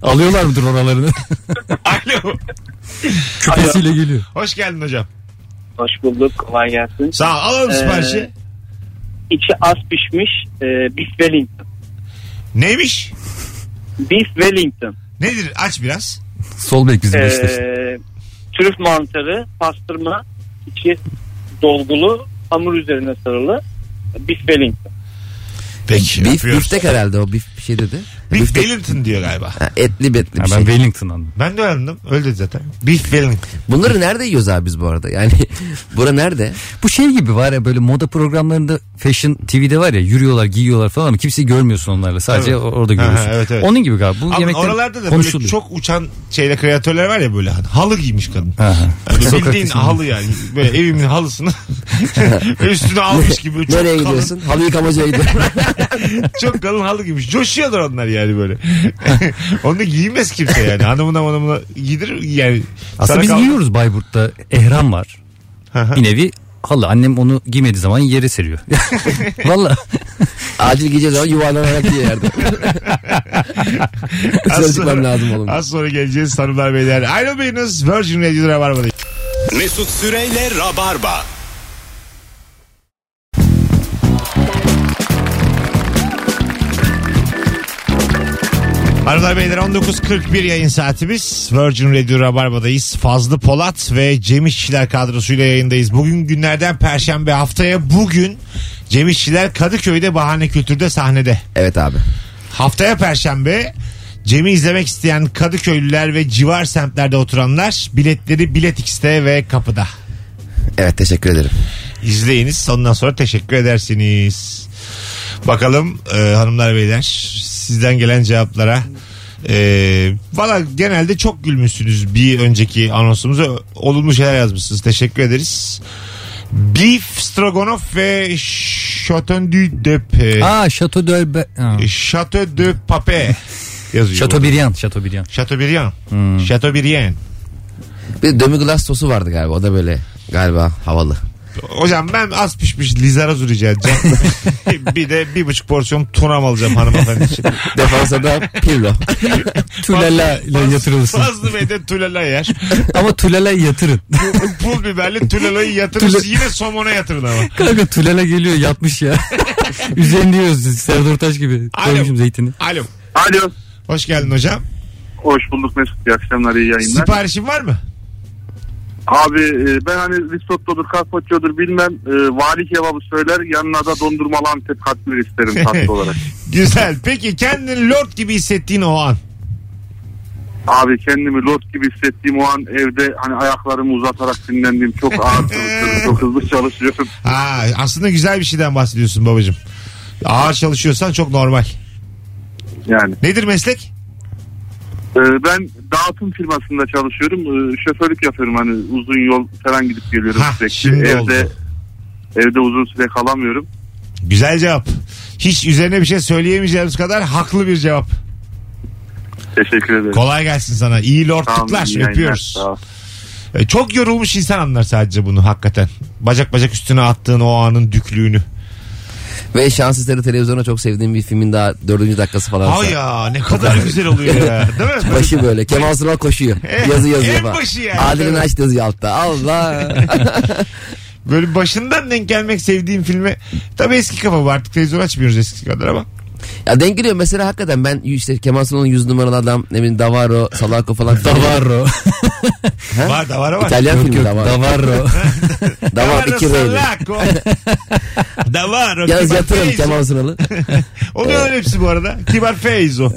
[SPEAKER 3] Alıyorlar mıdır oralarını?
[SPEAKER 2] Alo.
[SPEAKER 3] Küpesiyle geliyor.
[SPEAKER 2] Hoş geldin hocam.
[SPEAKER 6] Hoş bulduk. Kolay gelsin.
[SPEAKER 2] Sağ ol. Alalım
[SPEAKER 6] Ee,
[SPEAKER 2] siparişi.
[SPEAKER 6] İçi az pişmiş e, Beef Wellington.
[SPEAKER 2] Neymiş?
[SPEAKER 6] Beef Wellington.
[SPEAKER 2] Nedir? Aç biraz.
[SPEAKER 3] Sol bek
[SPEAKER 7] Ee,
[SPEAKER 3] bizim
[SPEAKER 6] E,
[SPEAKER 3] Beşiktaş.
[SPEAKER 6] trüf mantarı, pastırma, içi dolgulu, hamur üzerine sarılı. Beef Wellington.
[SPEAKER 2] Peki.
[SPEAKER 4] Bif,
[SPEAKER 2] öpüyoruz.
[SPEAKER 4] biftek herhalde o bif bir şey dedi.
[SPEAKER 2] Beef
[SPEAKER 4] Biftek-
[SPEAKER 2] Wellington diyor galiba.
[SPEAKER 4] Ha, etli betli
[SPEAKER 3] Ha,
[SPEAKER 4] bir
[SPEAKER 3] ben
[SPEAKER 4] şey.
[SPEAKER 3] Wellington anladım.
[SPEAKER 2] Ben de öğrendim. Öyle dedi zaten. Beef Wellington.
[SPEAKER 4] Bunları nerede yiyoruz abi biz bu arada? Yani bura nerede?
[SPEAKER 3] Bu şey gibi var ya böyle moda programlarında fashion TV'de var ya yürüyorlar giyiyorlar falan ama kimseyi görmüyorsun onlarla. Sadece
[SPEAKER 2] Evet.
[SPEAKER 3] or- orada
[SPEAKER 2] Ha,
[SPEAKER 3] görüyorsun.
[SPEAKER 2] evet, evet.
[SPEAKER 3] Onun gibi galiba. Bu
[SPEAKER 2] Ama
[SPEAKER 3] yemekler
[SPEAKER 2] oralarda da böyle
[SPEAKER 3] konuşuluyor.
[SPEAKER 2] çok uçan şeyle kreatörler var ya böyle hani halı giymiş kadın.
[SPEAKER 3] Ha, ha.
[SPEAKER 2] Yani
[SPEAKER 3] Sokak
[SPEAKER 2] bildiğin
[SPEAKER 3] resimleri.
[SPEAKER 2] halı yani. Böyle evimin halısını üstüne almış gibi. Çok
[SPEAKER 4] Nereye
[SPEAKER 2] kalın-
[SPEAKER 4] gidiyorsun? Halı yıkamacıya gidiyorum.
[SPEAKER 2] Çok kalın halı giymiş. Coşuyorlar onlar yani böyle. Onu da giymez kimse yani. Hanımına hanımına giydirir yani.
[SPEAKER 3] Aslında
[SPEAKER 2] Sana
[SPEAKER 3] biz
[SPEAKER 2] kal-
[SPEAKER 3] giyiyoruz Bayburt'ta. Ehram var.
[SPEAKER 2] hı.
[SPEAKER 3] bir nevi halı. Annem onu giymediği zaman yere seriyor. Valla.
[SPEAKER 4] Acil gideceğiz ama yuvarlanarak yiyor yerde. Dışarı çıkmam lazım oğlum.
[SPEAKER 2] Az sonra geleceğiz hanımlar beyler. Ayrılmayınız. Virgin Radio'da Rabarba'da.
[SPEAKER 1] Mesut Süreyle Rabarba.
[SPEAKER 2] Hanımlar beyler 19.41 yayın saatimiz. Virgin Radio Rabarba'dayız. Fazlı Polat ve Cem İşçiler kadrosuyla yayındayız. Bugün günlerden Perşembe haftaya bugün Cem İşçiler Kadıköy'de Bahane Kültür'de sahnede.
[SPEAKER 4] Evet abi.
[SPEAKER 2] Haftaya Perşembe Cem'i izlemek isteyen Kadıköylüler ve civar semtlerde oturanlar biletleri Bilet X'te ve kapıda.
[SPEAKER 4] Evet teşekkür ederim.
[SPEAKER 2] İzleyiniz ondan sonra teşekkür edersiniz. Bakalım e, hanımlar beyler sizden gelen cevaplara. E, Valla genelde çok gülmüşsünüz bir önceki anonsumuza. Olumlu şeyler yazmışsınız. Teşekkür ederiz. Beef stroganoff ve Chateau du de Pe-
[SPEAKER 3] Aa Chateau de Be- ha.
[SPEAKER 2] Chateau de Pape yazıyor.
[SPEAKER 3] Chateaubriand. Chateaubriand.
[SPEAKER 2] Chateaubriand. Chateaubriand.
[SPEAKER 4] Bir de demi-glace sosu vardı galiba. O da böyle galiba havalı.
[SPEAKER 2] Hocam ben az pişmiş lizarazu rica edeceğim. bir de bir buçuk porsiyon tunam alacağım hanımefendi için.
[SPEAKER 4] Defansa da pirlo.
[SPEAKER 3] Tulala ile
[SPEAKER 2] Faz-
[SPEAKER 3] yatırılırsın.
[SPEAKER 2] Fazlı Bey de tulala yer.
[SPEAKER 3] ama tulala yatırın.
[SPEAKER 2] Pul biberli tulalayı yatırır.
[SPEAKER 3] Tula-
[SPEAKER 2] yine somona yatırın ama.
[SPEAKER 3] Kanka tulala geliyor yatmış ya. Üzerini yiyoruz Serdar Taş gibi.
[SPEAKER 2] Alo.
[SPEAKER 3] Koymuşum zeytini.
[SPEAKER 2] Alo.
[SPEAKER 7] Alo.
[SPEAKER 2] Hoş geldin hocam.
[SPEAKER 7] Hoş bulduk Mesut. İyi akşamlar, iyi yayınlar.
[SPEAKER 2] Siparişin var mı?
[SPEAKER 7] Abi e, ben hani risottodur, carpaccio'dur bilmem e, vali kebabı söyler yanına da dondurmalı antep katmer isterim tatlı olarak.
[SPEAKER 2] Güzel. Peki kendini lord gibi hissettiğin o an.
[SPEAKER 7] Abi kendimi lot gibi hissettiğim o an evde hani ayaklarımı uzatarak dinlendiğim çok ağır çalışıyorum, çok hızlı çalışıyorum.
[SPEAKER 2] Ha, aslında güzel bir şeyden bahsediyorsun babacığım. Ağır çalışıyorsan çok normal.
[SPEAKER 7] Yani
[SPEAKER 2] Nedir meslek?
[SPEAKER 7] e, ben dağıtım firmasında çalışıyorum. E, şoförlük yapıyorum hani uzun yol falan gidip geliyorum
[SPEAKER 2] Hah, şimdi
[SPEAKER 7] sürekli. Evde
[SPEAKER 2] oldu.
[SPEAKER 7] evde uzun süre kalamıyorum.
[SPEAKER 2] Güzel cevap. Hiç üzerine bir şey söyleyemeyeceğimiz kadar haklı bir cevap.
[SPEAKER 7] Teşekkür ederim.
[SPEAKER 2] Kolay gelsin sana. İyi
[SPEAKER 7] Sağ olun,
[SPEAKER 2] lordluklar.
[SPEAKER 7] iyi yayınlar.
[SPEAKER 2] Öpüyoruz.
[SPEAKER 7] Sağ ol.
[SPEAKER 2] E, Çok yorulmuş insan anlar sadece bunu hakikaten. Bacak bacak üstüne attığın o anın düklüğünü.
[SPEAKER 4] Ve şansesleri televizyona çok sevdiğim bir filmin daha dördüncü dakikası falan.
[SPEAKER 2] Ay ya ne kadar güzel oluyor ya. Değil mi?
[SPEAKER 4] Başı böyle. Kemal Sunal koşuyor. Yazı yazıyor
[SPEAKER 2] en
[SPEAKER 4] falan.
[SPEAKER 2] başı yani.
[SPEAKER 4] Adil'in
[SPEAKER 2] Evet.
[SPEAKER 4] aç yazıyor altta. Allah.
[SPEAKER 2] Böyle başından denk gelmek sevdiğim filme. Tabii eski kafa bu artık televizyon açmıyoruz eskisi kadar ama.
[SPEAKER 4] Ya denk geliyor mesela hakikaten ben işte Kemal Sunal'ın 100 numaralı adam ne bileyim Davaro, Salako falan.
[SPEAKER 3] Davarro.
[SPEAKER 2] Var da var ama.
[SPEAKER 4] İtalyan
[SPEAKER 3] yok
[SPEAKER 4] filmi
[SPEAKER 3] yok
[SPEAKER 4] Davaro.
[SPEAKER 3] Davarro.
[SPEAKER 4] Davaro iki reyli.
[SPEAKER 2] Da var o.
[SPEAKER 4] Yalnız
[SPEAKER 2] Kibar
[SPEAKER 4] yatırım
[SPEAKER 2] Feyzo.
[SPEAKER 4] Kemal Sunal'ı.
[SPEAKER 2] Oluyorlar hepsi bu arada. Kibar Feyzo.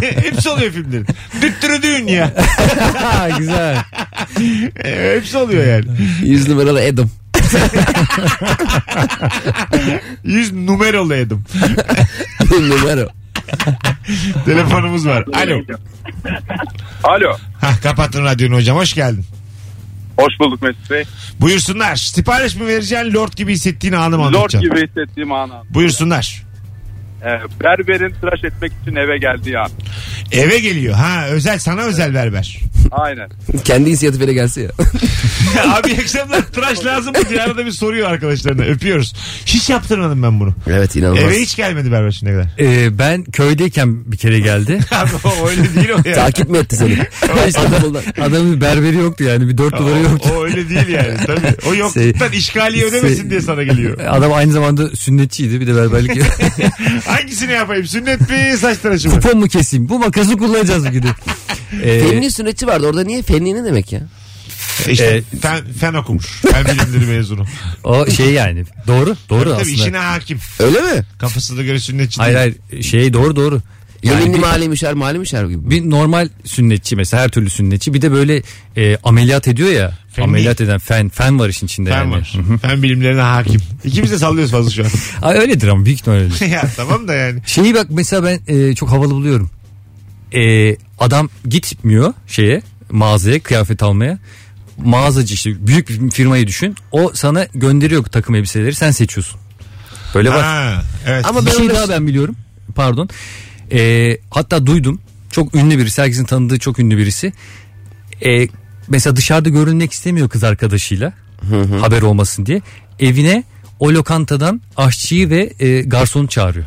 [SPEAKER 2] hepsi oluyor filmlerin. Düttürü dünya.
[SPEAKER 3] Ha, Güzel.
[SPEAKER 2] E, hepsi oluyor yani.
[SPEAKER 4] 100 numaralı Adam.
[SPEAKER 2] Yüz numaralı edim.
[SPEAKER 4] Numara.
[SPEAKER 2] Telefonumuz var. Alo.
[SPEAKER 7] Alo.
[SPEAKER 2] Hah kapatın radyonu hocam. Hoş geldin.
[SPEAKER 7] Hoş bulduk Mesut Bey.
[SPEAKER 2] Buyursunlar. Sipariş mi vereceksin? Lord gibi hissettiğin anı mı
[SPEAKER 7] Zor
[SPEAKER 2] anlatacaksın?
[SPEAKER 7] gibi hissettiğim anı.
[SPEAKER 2] Buyursunlar.
[SPEAKER 7] Ee, berberin tıraş etmek için eve geldi ya.
[SPEAKER 2] Eve geliyor. Ha özel sana özel berber.
[SPEAKER 7] Aynen.
[SPEAKER 4] Kendi inisiyatifiyle gelse ya.
[SPEAKER 2] Abi iyi akşamlar tıraş lazım mı diye arada bir soruyor arkadaşlarına. Öpüyoruz. Hiç yaptırmadım ben bunu.
[SPEAKER 4] evet inanılmaz.
[SPEAKER 2] Eve hiç gelmedi berber şimdiye kadar.
[SPEAKER 3] Ee, ben köydeyken bir kere geldi.
[SPEAKER 2] Abi o öyle değil o ya.
[SPEAKER 4] Takip mi etti seni? İstanbul'dan.
[SPEAKER 3] Adamın bir berberi yoktu yani bir dört duvarı
[SPEAKER 2] O,
[SPEAKER 3] yoktu.
[SPEAKER 2] o öyle değil yani tabii. O yokluktan işgaliyi ödemesin
[SPEAKER 3] Se-
[SPEAKER 2] diye sana geliyor.
[SPEAKER 3] Adam aynı zamanda sünnetçiydi bir de berberlik.
[SPEAKER 2] Hangisini yapayım? Sünnet mi saç tıraşı mı?
[SPEAKER 3] Kupon mu keseyim? Bu makası kullanacağız bugün. Ee,
[SPEAKER 4] Fenli sünnetçi vardı orada niye? Fenli ne demek ya?
[SPEAKER 2] İşte
[SPEAKER 3] e,
[SPEAKER 2] fen, fen okumuş. Fen bilimleri mezunu.
[SPEAKER 3] o şey yani. Doğru. Doğru
[SPEAKER 2] Tabii
[SPEAKER 3] aslında.
[SPEAKER 2] işine hakim.
[SPEAKER 4] Öyle mi?
[SPEAKER 2] Kafasına göre sünnetçi
[SPEAKER 3] Hayır
[SPEAKER 2] değil.
[SPEAKER 3] hayır. Şey doğru doğru. Yani
[SPEAKER 4] Yeminli
[SPEAKER 3] bir-
[SPEAKER 4] mali müşer mali müşer gibi.
[SPEAKER 3] bir normal sünnetçi mesela her türlü sünnetçi bir de böyle e, ameliyat ediyor ya
[SPEAKER 2] Fen
[SPEAKER 3] ameliyat eden fen fen var işin içinde
[SPEAKER 2] Fen
[SPEAKER 3] yani.
[SPEAKER 2] var. Fen bilimlerine hakim. İkimiz de sallıyoruz fazla şu an.
[SPEAKER 3] Ay, öyledir ama büyük ihtimalle öyledir.
[SPEAKER 2] ya tamam da yani.
[SPEAKER 3] Şeyi bak mesela ben e, çok havalı buluyorum. E, adam gitmiyor şeye mağazaya kıyafet almaya. Mağazacı işte büyük bir firmayı düşün. O sana gönderiyor takım elbiseleri sen seçiyorsun. Böyle var.
[SPEAKER 2] Ha, evet.
[SPEAKER 4] Ama
[SPEAKER 3] bir
[SPEAKER 4] ben
[SPEAKER 3] şey
[SPEAKER 4] onu-
[SPEAKER 3] daha ben biliyorum. Pardon. Ee, hatta duydum. Çok ünlü birisi. Herkesin tanıdığı çok ünlü birisi. Ee, mesela dışarıda görünmek istemiyor kız arkadaşıyla. Haber olmasın diye. Evine o lokantadan aşçıyı ve e, garsonu çağırıyor.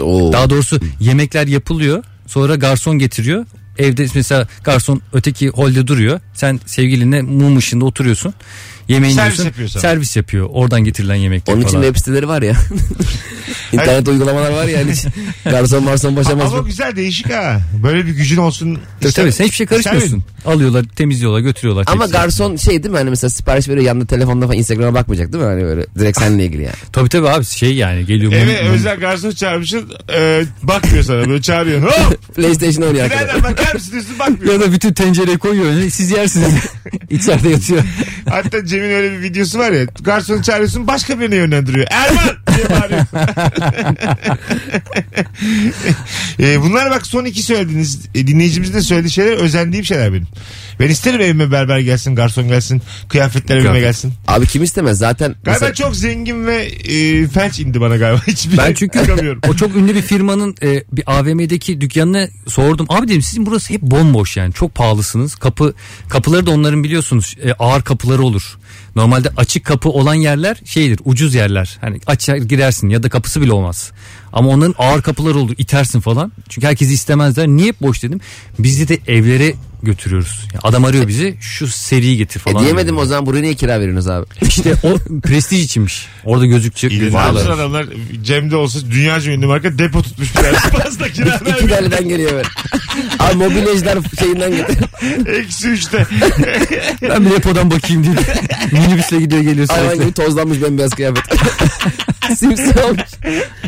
[SPEAKER 4] Oo.
[SPEAKER 3] Daha doğrusu yemekler yapılıyor. Sonra garson getiriyor. Evde mesela garson öteki holde duruyor. Sen sevgilinle mum ışığında oturuyorsun. Yemeğini
[SPEAKER 2] Servis
[SPEAKER 3] yiyorsun.
[SPEAKER 2] yapıyor sana.
[SPEAKER 3] Servis yapıyor. Oradan getirilen yemekler
[SPEAKER 4] Onun için
[SPEAKER 3] falan.
[SPEAKER 4] web siteleri var ya. İnternet uygulamalar var ya. Hani garson marson başamaz
[SPEAKER 2] Ama
[SPEAKER 4] mı?
[SPEAKER 2] güzel değişik ha. Böyle bir gücün olsun.
[SPEAKER 3] Tabii
[SPEAKER 2] İşte-
[SPEAKER 3] tabii sen hiçbir şey karışmıyorsun. Alıyorlar temizliyorlar götürüyorlar.
[SPEAKER 4] Ama
[SPEAKER 3] tepsiye.
[SPEAKER 4] garson şey değil mi hani mesela sipariş veriyor yanında telefonda falan Instagram'a bakmayacak değil mi? Hani böyle direkt seninle ilgili yani.
[SPEAKER 3] Tabii tabii abi şey yani geliyor. mum-
[SPEAKER 2] Eve
[SPEAKER 3] mum-
[SPEAKER 2] özel garson çağırmışsın. e, bakmıyor sana böyle çağırıyorsun. Hop!
[SPEAKER 4] PlayStation oynuyor arkadaşlar.
[SPEAKER 2] Nereden bakar mısın diyorsun bakmıyor.
[SPEAKER 3] Ya da bütün tencereyi koyuyor önüne siz yersiniz. İçeride yatıyor.
[SPEAKER 2] Hatta Cem'in öyle bir videosu var ya. Garsonu çağırıyorsun başka birine yönlendiriyor. Erman diye bağırıyor. E, bunlar bak son iki söylediğiniz e, dinleyicimizin de söylediği şeyler özendiğim şeyler benim. Ben isterim evime berber gelsin, garson gelsin, kıyafetler evime
[SPEAKER 3] Kıyafet.
[SPEAKER 2] gelsin.
[SPEAKER 4] Abi kim istemez zaten.
[SPEAKER 2] Galiba
[SPEAKER 4] mesela-
[SPEAKER 2] çok zengin ve e, felç indi bana galiba. Hiçbir şey
[SPEAKER 3] Ben çünkü
[SPEAKER 2] çıkamıyorum.
[SPEAKER 3] o çok ünlü bir firmanın e, bir AVM'deki dükkanına sordum. Abi dedim sizin burası hep bomboş yani çok pahalısınız. Kapı kapıları da onların biliyorsunuz e, ağır kapıları olur. Normalde açık kapı olan yerler şeydir ucuz yerler. Hani açar girersin ya da kapısı bile olmaz. Ama onların ağır kapıları olur itersin falan. Çünkü herkesi istemezler. Niye hep boş dedim. Bizi de evlere götürüyoruz. Yani adam arıyor bizi şu seriyi getir
[SPEAKER 4] E
[SPEAKER 3] falan.
[SPEAKER 4] diyemedim
[SPEAKER 3] diyor.
[SPEAKER 4] o zaman buraya niye kira veriyorsunuz abi?
[SPEAKER 3] İşte o prestij içinmiş. Orada gözükecek.
[SPEAKER 2] Ne yapsın adamlar? Cem'de olsa dünyaca ünlü marka depo tutmuş bir tanesi. Fazla kira
[SPEAKER 4] İki
[SPEAKER 2] vermiyor.
[SPEAKER 4] derliden geliyor böyle. abi mobilyacılar şeyinden geliyor.
[SPEAKER 2] Eksi üçte.
[SPEAKER 3] Ben bir depodan bakayım diye. Minibüsle gidiyor geliyor
[SPEAKER 4] Hayvan
[SPEAKER 3] sürekli.
[SPEAKER 4] gibi tozlanmış bembeyaz kıyafet. Simsiyah olmuş.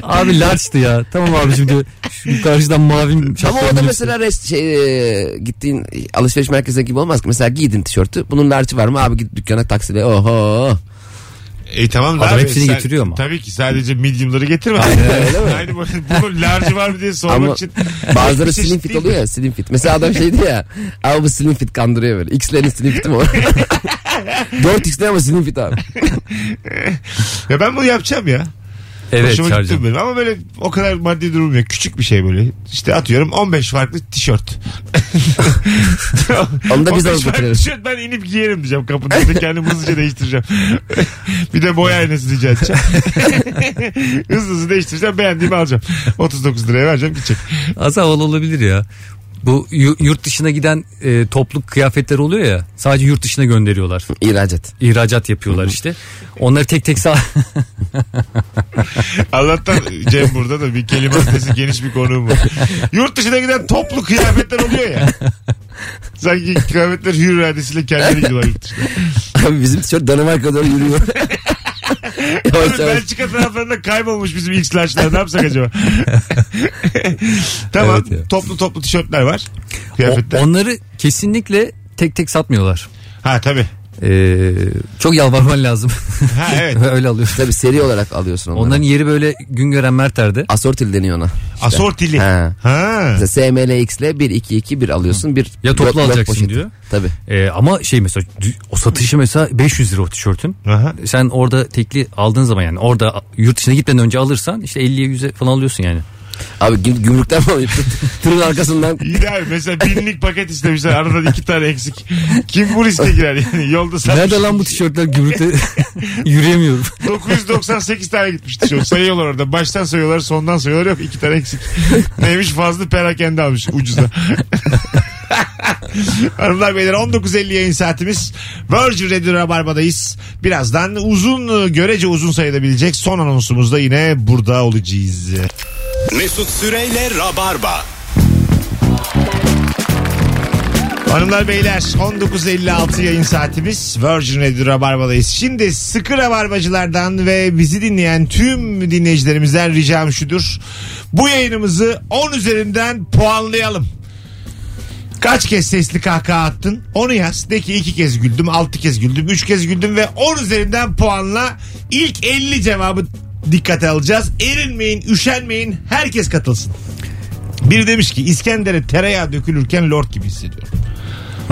[SPEAKER 3] Abi large'tı ya. Tamam abicim diyor. Şu karşıdan mavi
[SPEAKER 4] Ama
[SPEAKER 3] şapkalı
[SPEAKER 4] o da
[SPEAKER 3] minibüs.
[SPEAKER 4] mesela rest, şey, e, gittiğin alışveriş merkezine gibi olmaz ki. Mesela giydin tişörtü. Bunun larçı var mı? Abi git dükkana taksiyle. Oho.
[SPEAKER 2] E tamam da
[SPEAKER 3] Adam
[SPEAKER 2] abi,
[SPEAKER 3] hepsini
[SPEAKER 2] sen-
[SPEAKER 3] getiriyor mu?
[SPEAKER 2] Tabii ki sadece medium'ları getirme.
[SPEAKER 4] öyle mi?
[SPEAKER 2] Yani bu- bunun large var mı diye sormak
[SPEAKER 4] Ama
[SPEAKER 2] için.
[SPEAKER 4] bazıları
[SPEAKER 2] Hiçbir
[SPEAKER 4] slim
[SPEAKER 2] çeşit
[SPEAKER 4] fit
[SPEAKER 2] değil.
[SPEAKER 4] oluyor ya slim fit. Mesela adam şeydi ya. Abi bu slim fit kandırıyor böyle. X'lerin slim fit'i mi o? 4X'ler ama slim fit abi.
[SPEAKER 2] Ya ben bunu yapacağım ya.
[SPEAKER 3] Evet
[SPEAKER 2] Hoşuma gitti
[SPEAKER 3] çağıracağım.
[SPEAKER 2] benim. Ama böyle o kadar maddi durum yok. Küçük bir şey böyle. İşte atıyorum 15 farklı tişört.
[SPEAKER 4] Onu da
[SPEAKER 2] 15
[SPEAKER 4] biz alıp
[SPEAKER 2] farklı
[SPEAKER 4] götürüyoruz.
[SPEAKER 2] Tişört ben inip giyerim diyeceğim kapının önünde. Kendimi hızlıca değiştireceğim. bir de boy aynası rica edeceğim. hızlı hızlı değiştireceğim. Beğendiğimi alacağım. 39 liraya vereceğim gidecek.
[SPEAKER 3] Az havalı olabilir ya. Bu yu- yurt dışına giden e, topluk kıyafetler oluyor ya. Sadece yurt dışına gönderiyorlar.
[SPEAKER 4] İhraç et.
[SPEAKER 3] İhracat yapıyorlar işte. Onları tek tek sağ...
[SPEAKER 2] Allah'tan Cem burada da bir kelime sesi geniş bir konuğum var. Yurt dışına giden toplu kıyafetler oluyor ya. Sanki kıyafetler hür iradesiyle kendileri gidiyorlar yurt dışına.
[SPEAKER 4] Abi bizim tişört Danimarka'ya doğru yürüyor. yavaş
[SPEAKER 2] Abi
[SPEAKER 4] yavaş.
[SPEAKER 2] Belçika taraflarında kaybolmuş bizim ilk slaçlar. Ne yapsak acaba? tamam.
[SPEAKER 3] Evet ya.
[SPEAKER 2] toplu toplu tişörtler var.
[SPEAKER 3] O-
[SPEAKER 2] Kıyafetler.
[SPEAKER 3] onları kesinlikle tek tek satmıyorlar.
[SPEAKER 2] Ha tabii.
[SPEAKER 3] Ee, çok yalvarman lazım.
[SPEAKER 2] Ha evet.
[SPEAKER 3] Öyle alıyor.
[SPEAKER 4] Tabii seri olarak alıyorsun onları.
[SPEAKER 3] Onların yeri böyle gün gören Merter'de.
[SPEAKER 4] Asortil deniyor ona.
[SPEAKER 2] Asortili.
[SPEAKER 4] Ha.
[SPEAKER 2] Ha.
[SPEAKER 4] Mesela SMLX'le 1 2 2 1 alıyorsun. Bir
[SPEAKER 3] Ya toplu
[SPEAKER 4] blok- blok
[SPEAKER 3] alacaksın
[SPEAKER 4] poşeti.
[SPEAKER 3] diyor.
[SPEAKER 4] Tabii.
[SPEAKER 3] Ee, ama şey mesela dü- o satışı mesela 500 lira o tişörtün.
[SPEAKER 2] Aha.
[SPEAKER 3] Sen orada tekli aldığın zaman yani orada yurt dışına gitmeden önce alırsan işte 50'ye 100'e falan alıyorsun yani.
[SPEAKER 4] Abi gü- gümrükten falan tırın arkasından
[SPEAKER 2] İyi de abi mesela binlik paket istemişler aradan iki tane eksik. Kim bu liste girer yani yolda satmış.
[SPEAKER 3] Nerede lan bu tişörtler gümrükte yürüyemiyorum.
[SPEAKER 2] 998 tane gitmişti şu. Sayıyorlar orada. Baştan sayıyorlar sondan sayıyorlar yok iki tane eksik. Neymiş fazla perakende almış ucuza. Hanımlar beyler 19.50 yayın saatimiz. Virgin Radio Rabarba'dayız. Birazdan uzun görece uzun sayılabilecek son anonsumuzda yine burada olacağız.
[SPEAKER 1] Mesut Süreyle Rabarba.
[SPEAKER 2] Hanımlar beyler 19.56 yayın saatimiz Virgin Radio Rabarba'dayız. Şimdi sıkı rabarbacılardan ve bizi dinleyen tüm dinleyicilerimizden ricam şudur. Bu yayınımızı 10 üzerinden puanlayalım. Kaç kez sesli kahkaha attın? Onu yaz. De ki iki kez güldüm, altı kez güldüm, üç kez güldüm ve 10 üzerinden puanla ilk 50 cevabı dikkate alacağız. Erinmeyin, üşenmeyin. Herkes katılsın. Biri demiş ki İskender'e tereyağı dökülürken lord gibi hissediyorum.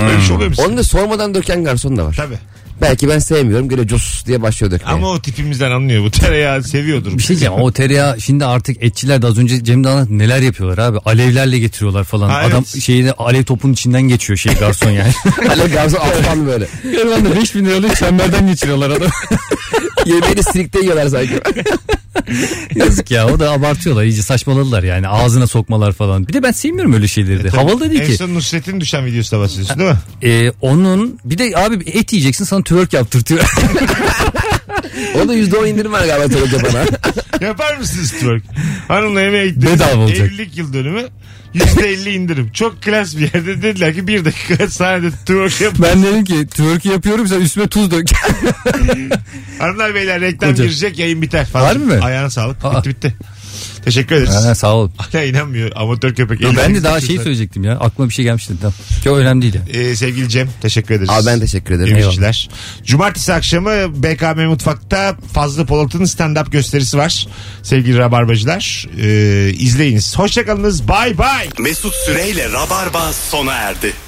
[SPEAKER 2] Öyle bir şey oluyor mu?
[SPEAKER 3] Hmm.
[SPEAKER 4] onu da sormadan döken garson da var.
[SPEAKER 2] Tabii.
[SPEAKER 4] Belki ben sevmiyorum. Göre cos diye başlıyor dökmeye.
[SPEAKER 2] Ama o tipimizden anlıyor. Bu tereyağı seviyordur.
[SPEAKER 3] Bir şey diyeceğim o tereyağı şimdi artık etçiler de az önce Cem de anlattı neler yapıyorlar abi. Alevlerle getiriyorlar falan.
[SPEAKER 2] Ha, evet.
[SPEAKER 3] Adam şeyini alev topunun içinden geçiyor şey garson yani.
[SPEAKER 4] Alev garson alttan böyle.
[SPEAKER 3] Gariban da 5000 liralık çemberden geçiriyorlar adam.
[SPEAKER 4] Yemeğini strikte yiyorlar sanki.
[SPEAKER 3] Yazık ya o da abartıyorlar iyice saçmaladılar yani ağzına sokmalar falan. Bir de ben sevmiyorum öyle şeyleri de. Havalı da değil
[SPEAKER 2] E En
[SPEAKER 3] ki.
[SPEAKER 2] son Nusret'in düşen videosu da bahsediyorsun değil mi?
[SPEAKER 3] Ee, onun bir de abi et yiyeceksin sana twerk yaptırtıyor.
[SPEAKER 4] O da %10 indirim var galiba söyledi bana.
[SPEAKER 2] Yapar mısınız twerk? Hanımla yemeğe gittiniz.
[SPEAKER 3] Bedava olacak.
[SPEAKER 2] Evlilik yıl dönümü. %50 indirim. Çok klas bir yerde dediler ki bir dakika sahnede twerk yapın.
[SPEAKER 3] ben dedim ki twerk'i yapıyorum sen üstüme tuz dök.
[SPEAKER 2] Hanımlar beyler reklam
[SPEAKER 3] Hocam.
[SPEAKER 2] girecek yayın biter.
[SPEAKER 3] Var mı?
[SPEAKER 2] Ayağına sağlık.
[SPEAKER 3] Aa.
[SPEAKER 2] Bitti bitti. Teşekkür ederiz.
[SPEAKER 3] ha, sağ ol.
[SPEAKER 2] Hala inanmıyor. Amatör köpek.
[SPEAKER 3] Yo, ben de
[SPEAKER 2] 58
[SPEAKER 3] daha şey
[SPEAKER 2] yaşında.
[SPEAKER 3] söyleyecektim ya. Aklıma bir şey gelmişti. Tamam. Çok önemli değil. yani.
[SPEAKER 2] Ee, sevgili Cem teşekkür ederiz.
[SPEAKER 4] Abi ben teşekkür ederim.
[SPEAKER 2] Demişler. Cumartesi akşamı BKM Mutfak'ta Fazlı Polat'ın stand-up gösterisi var. Sevgili Rabarbacılar ee, izleyiniz. Hoşçakalınız. Bay bay.
[SPEAKER 1] Mesut Süreyle Rabarba sona erdi.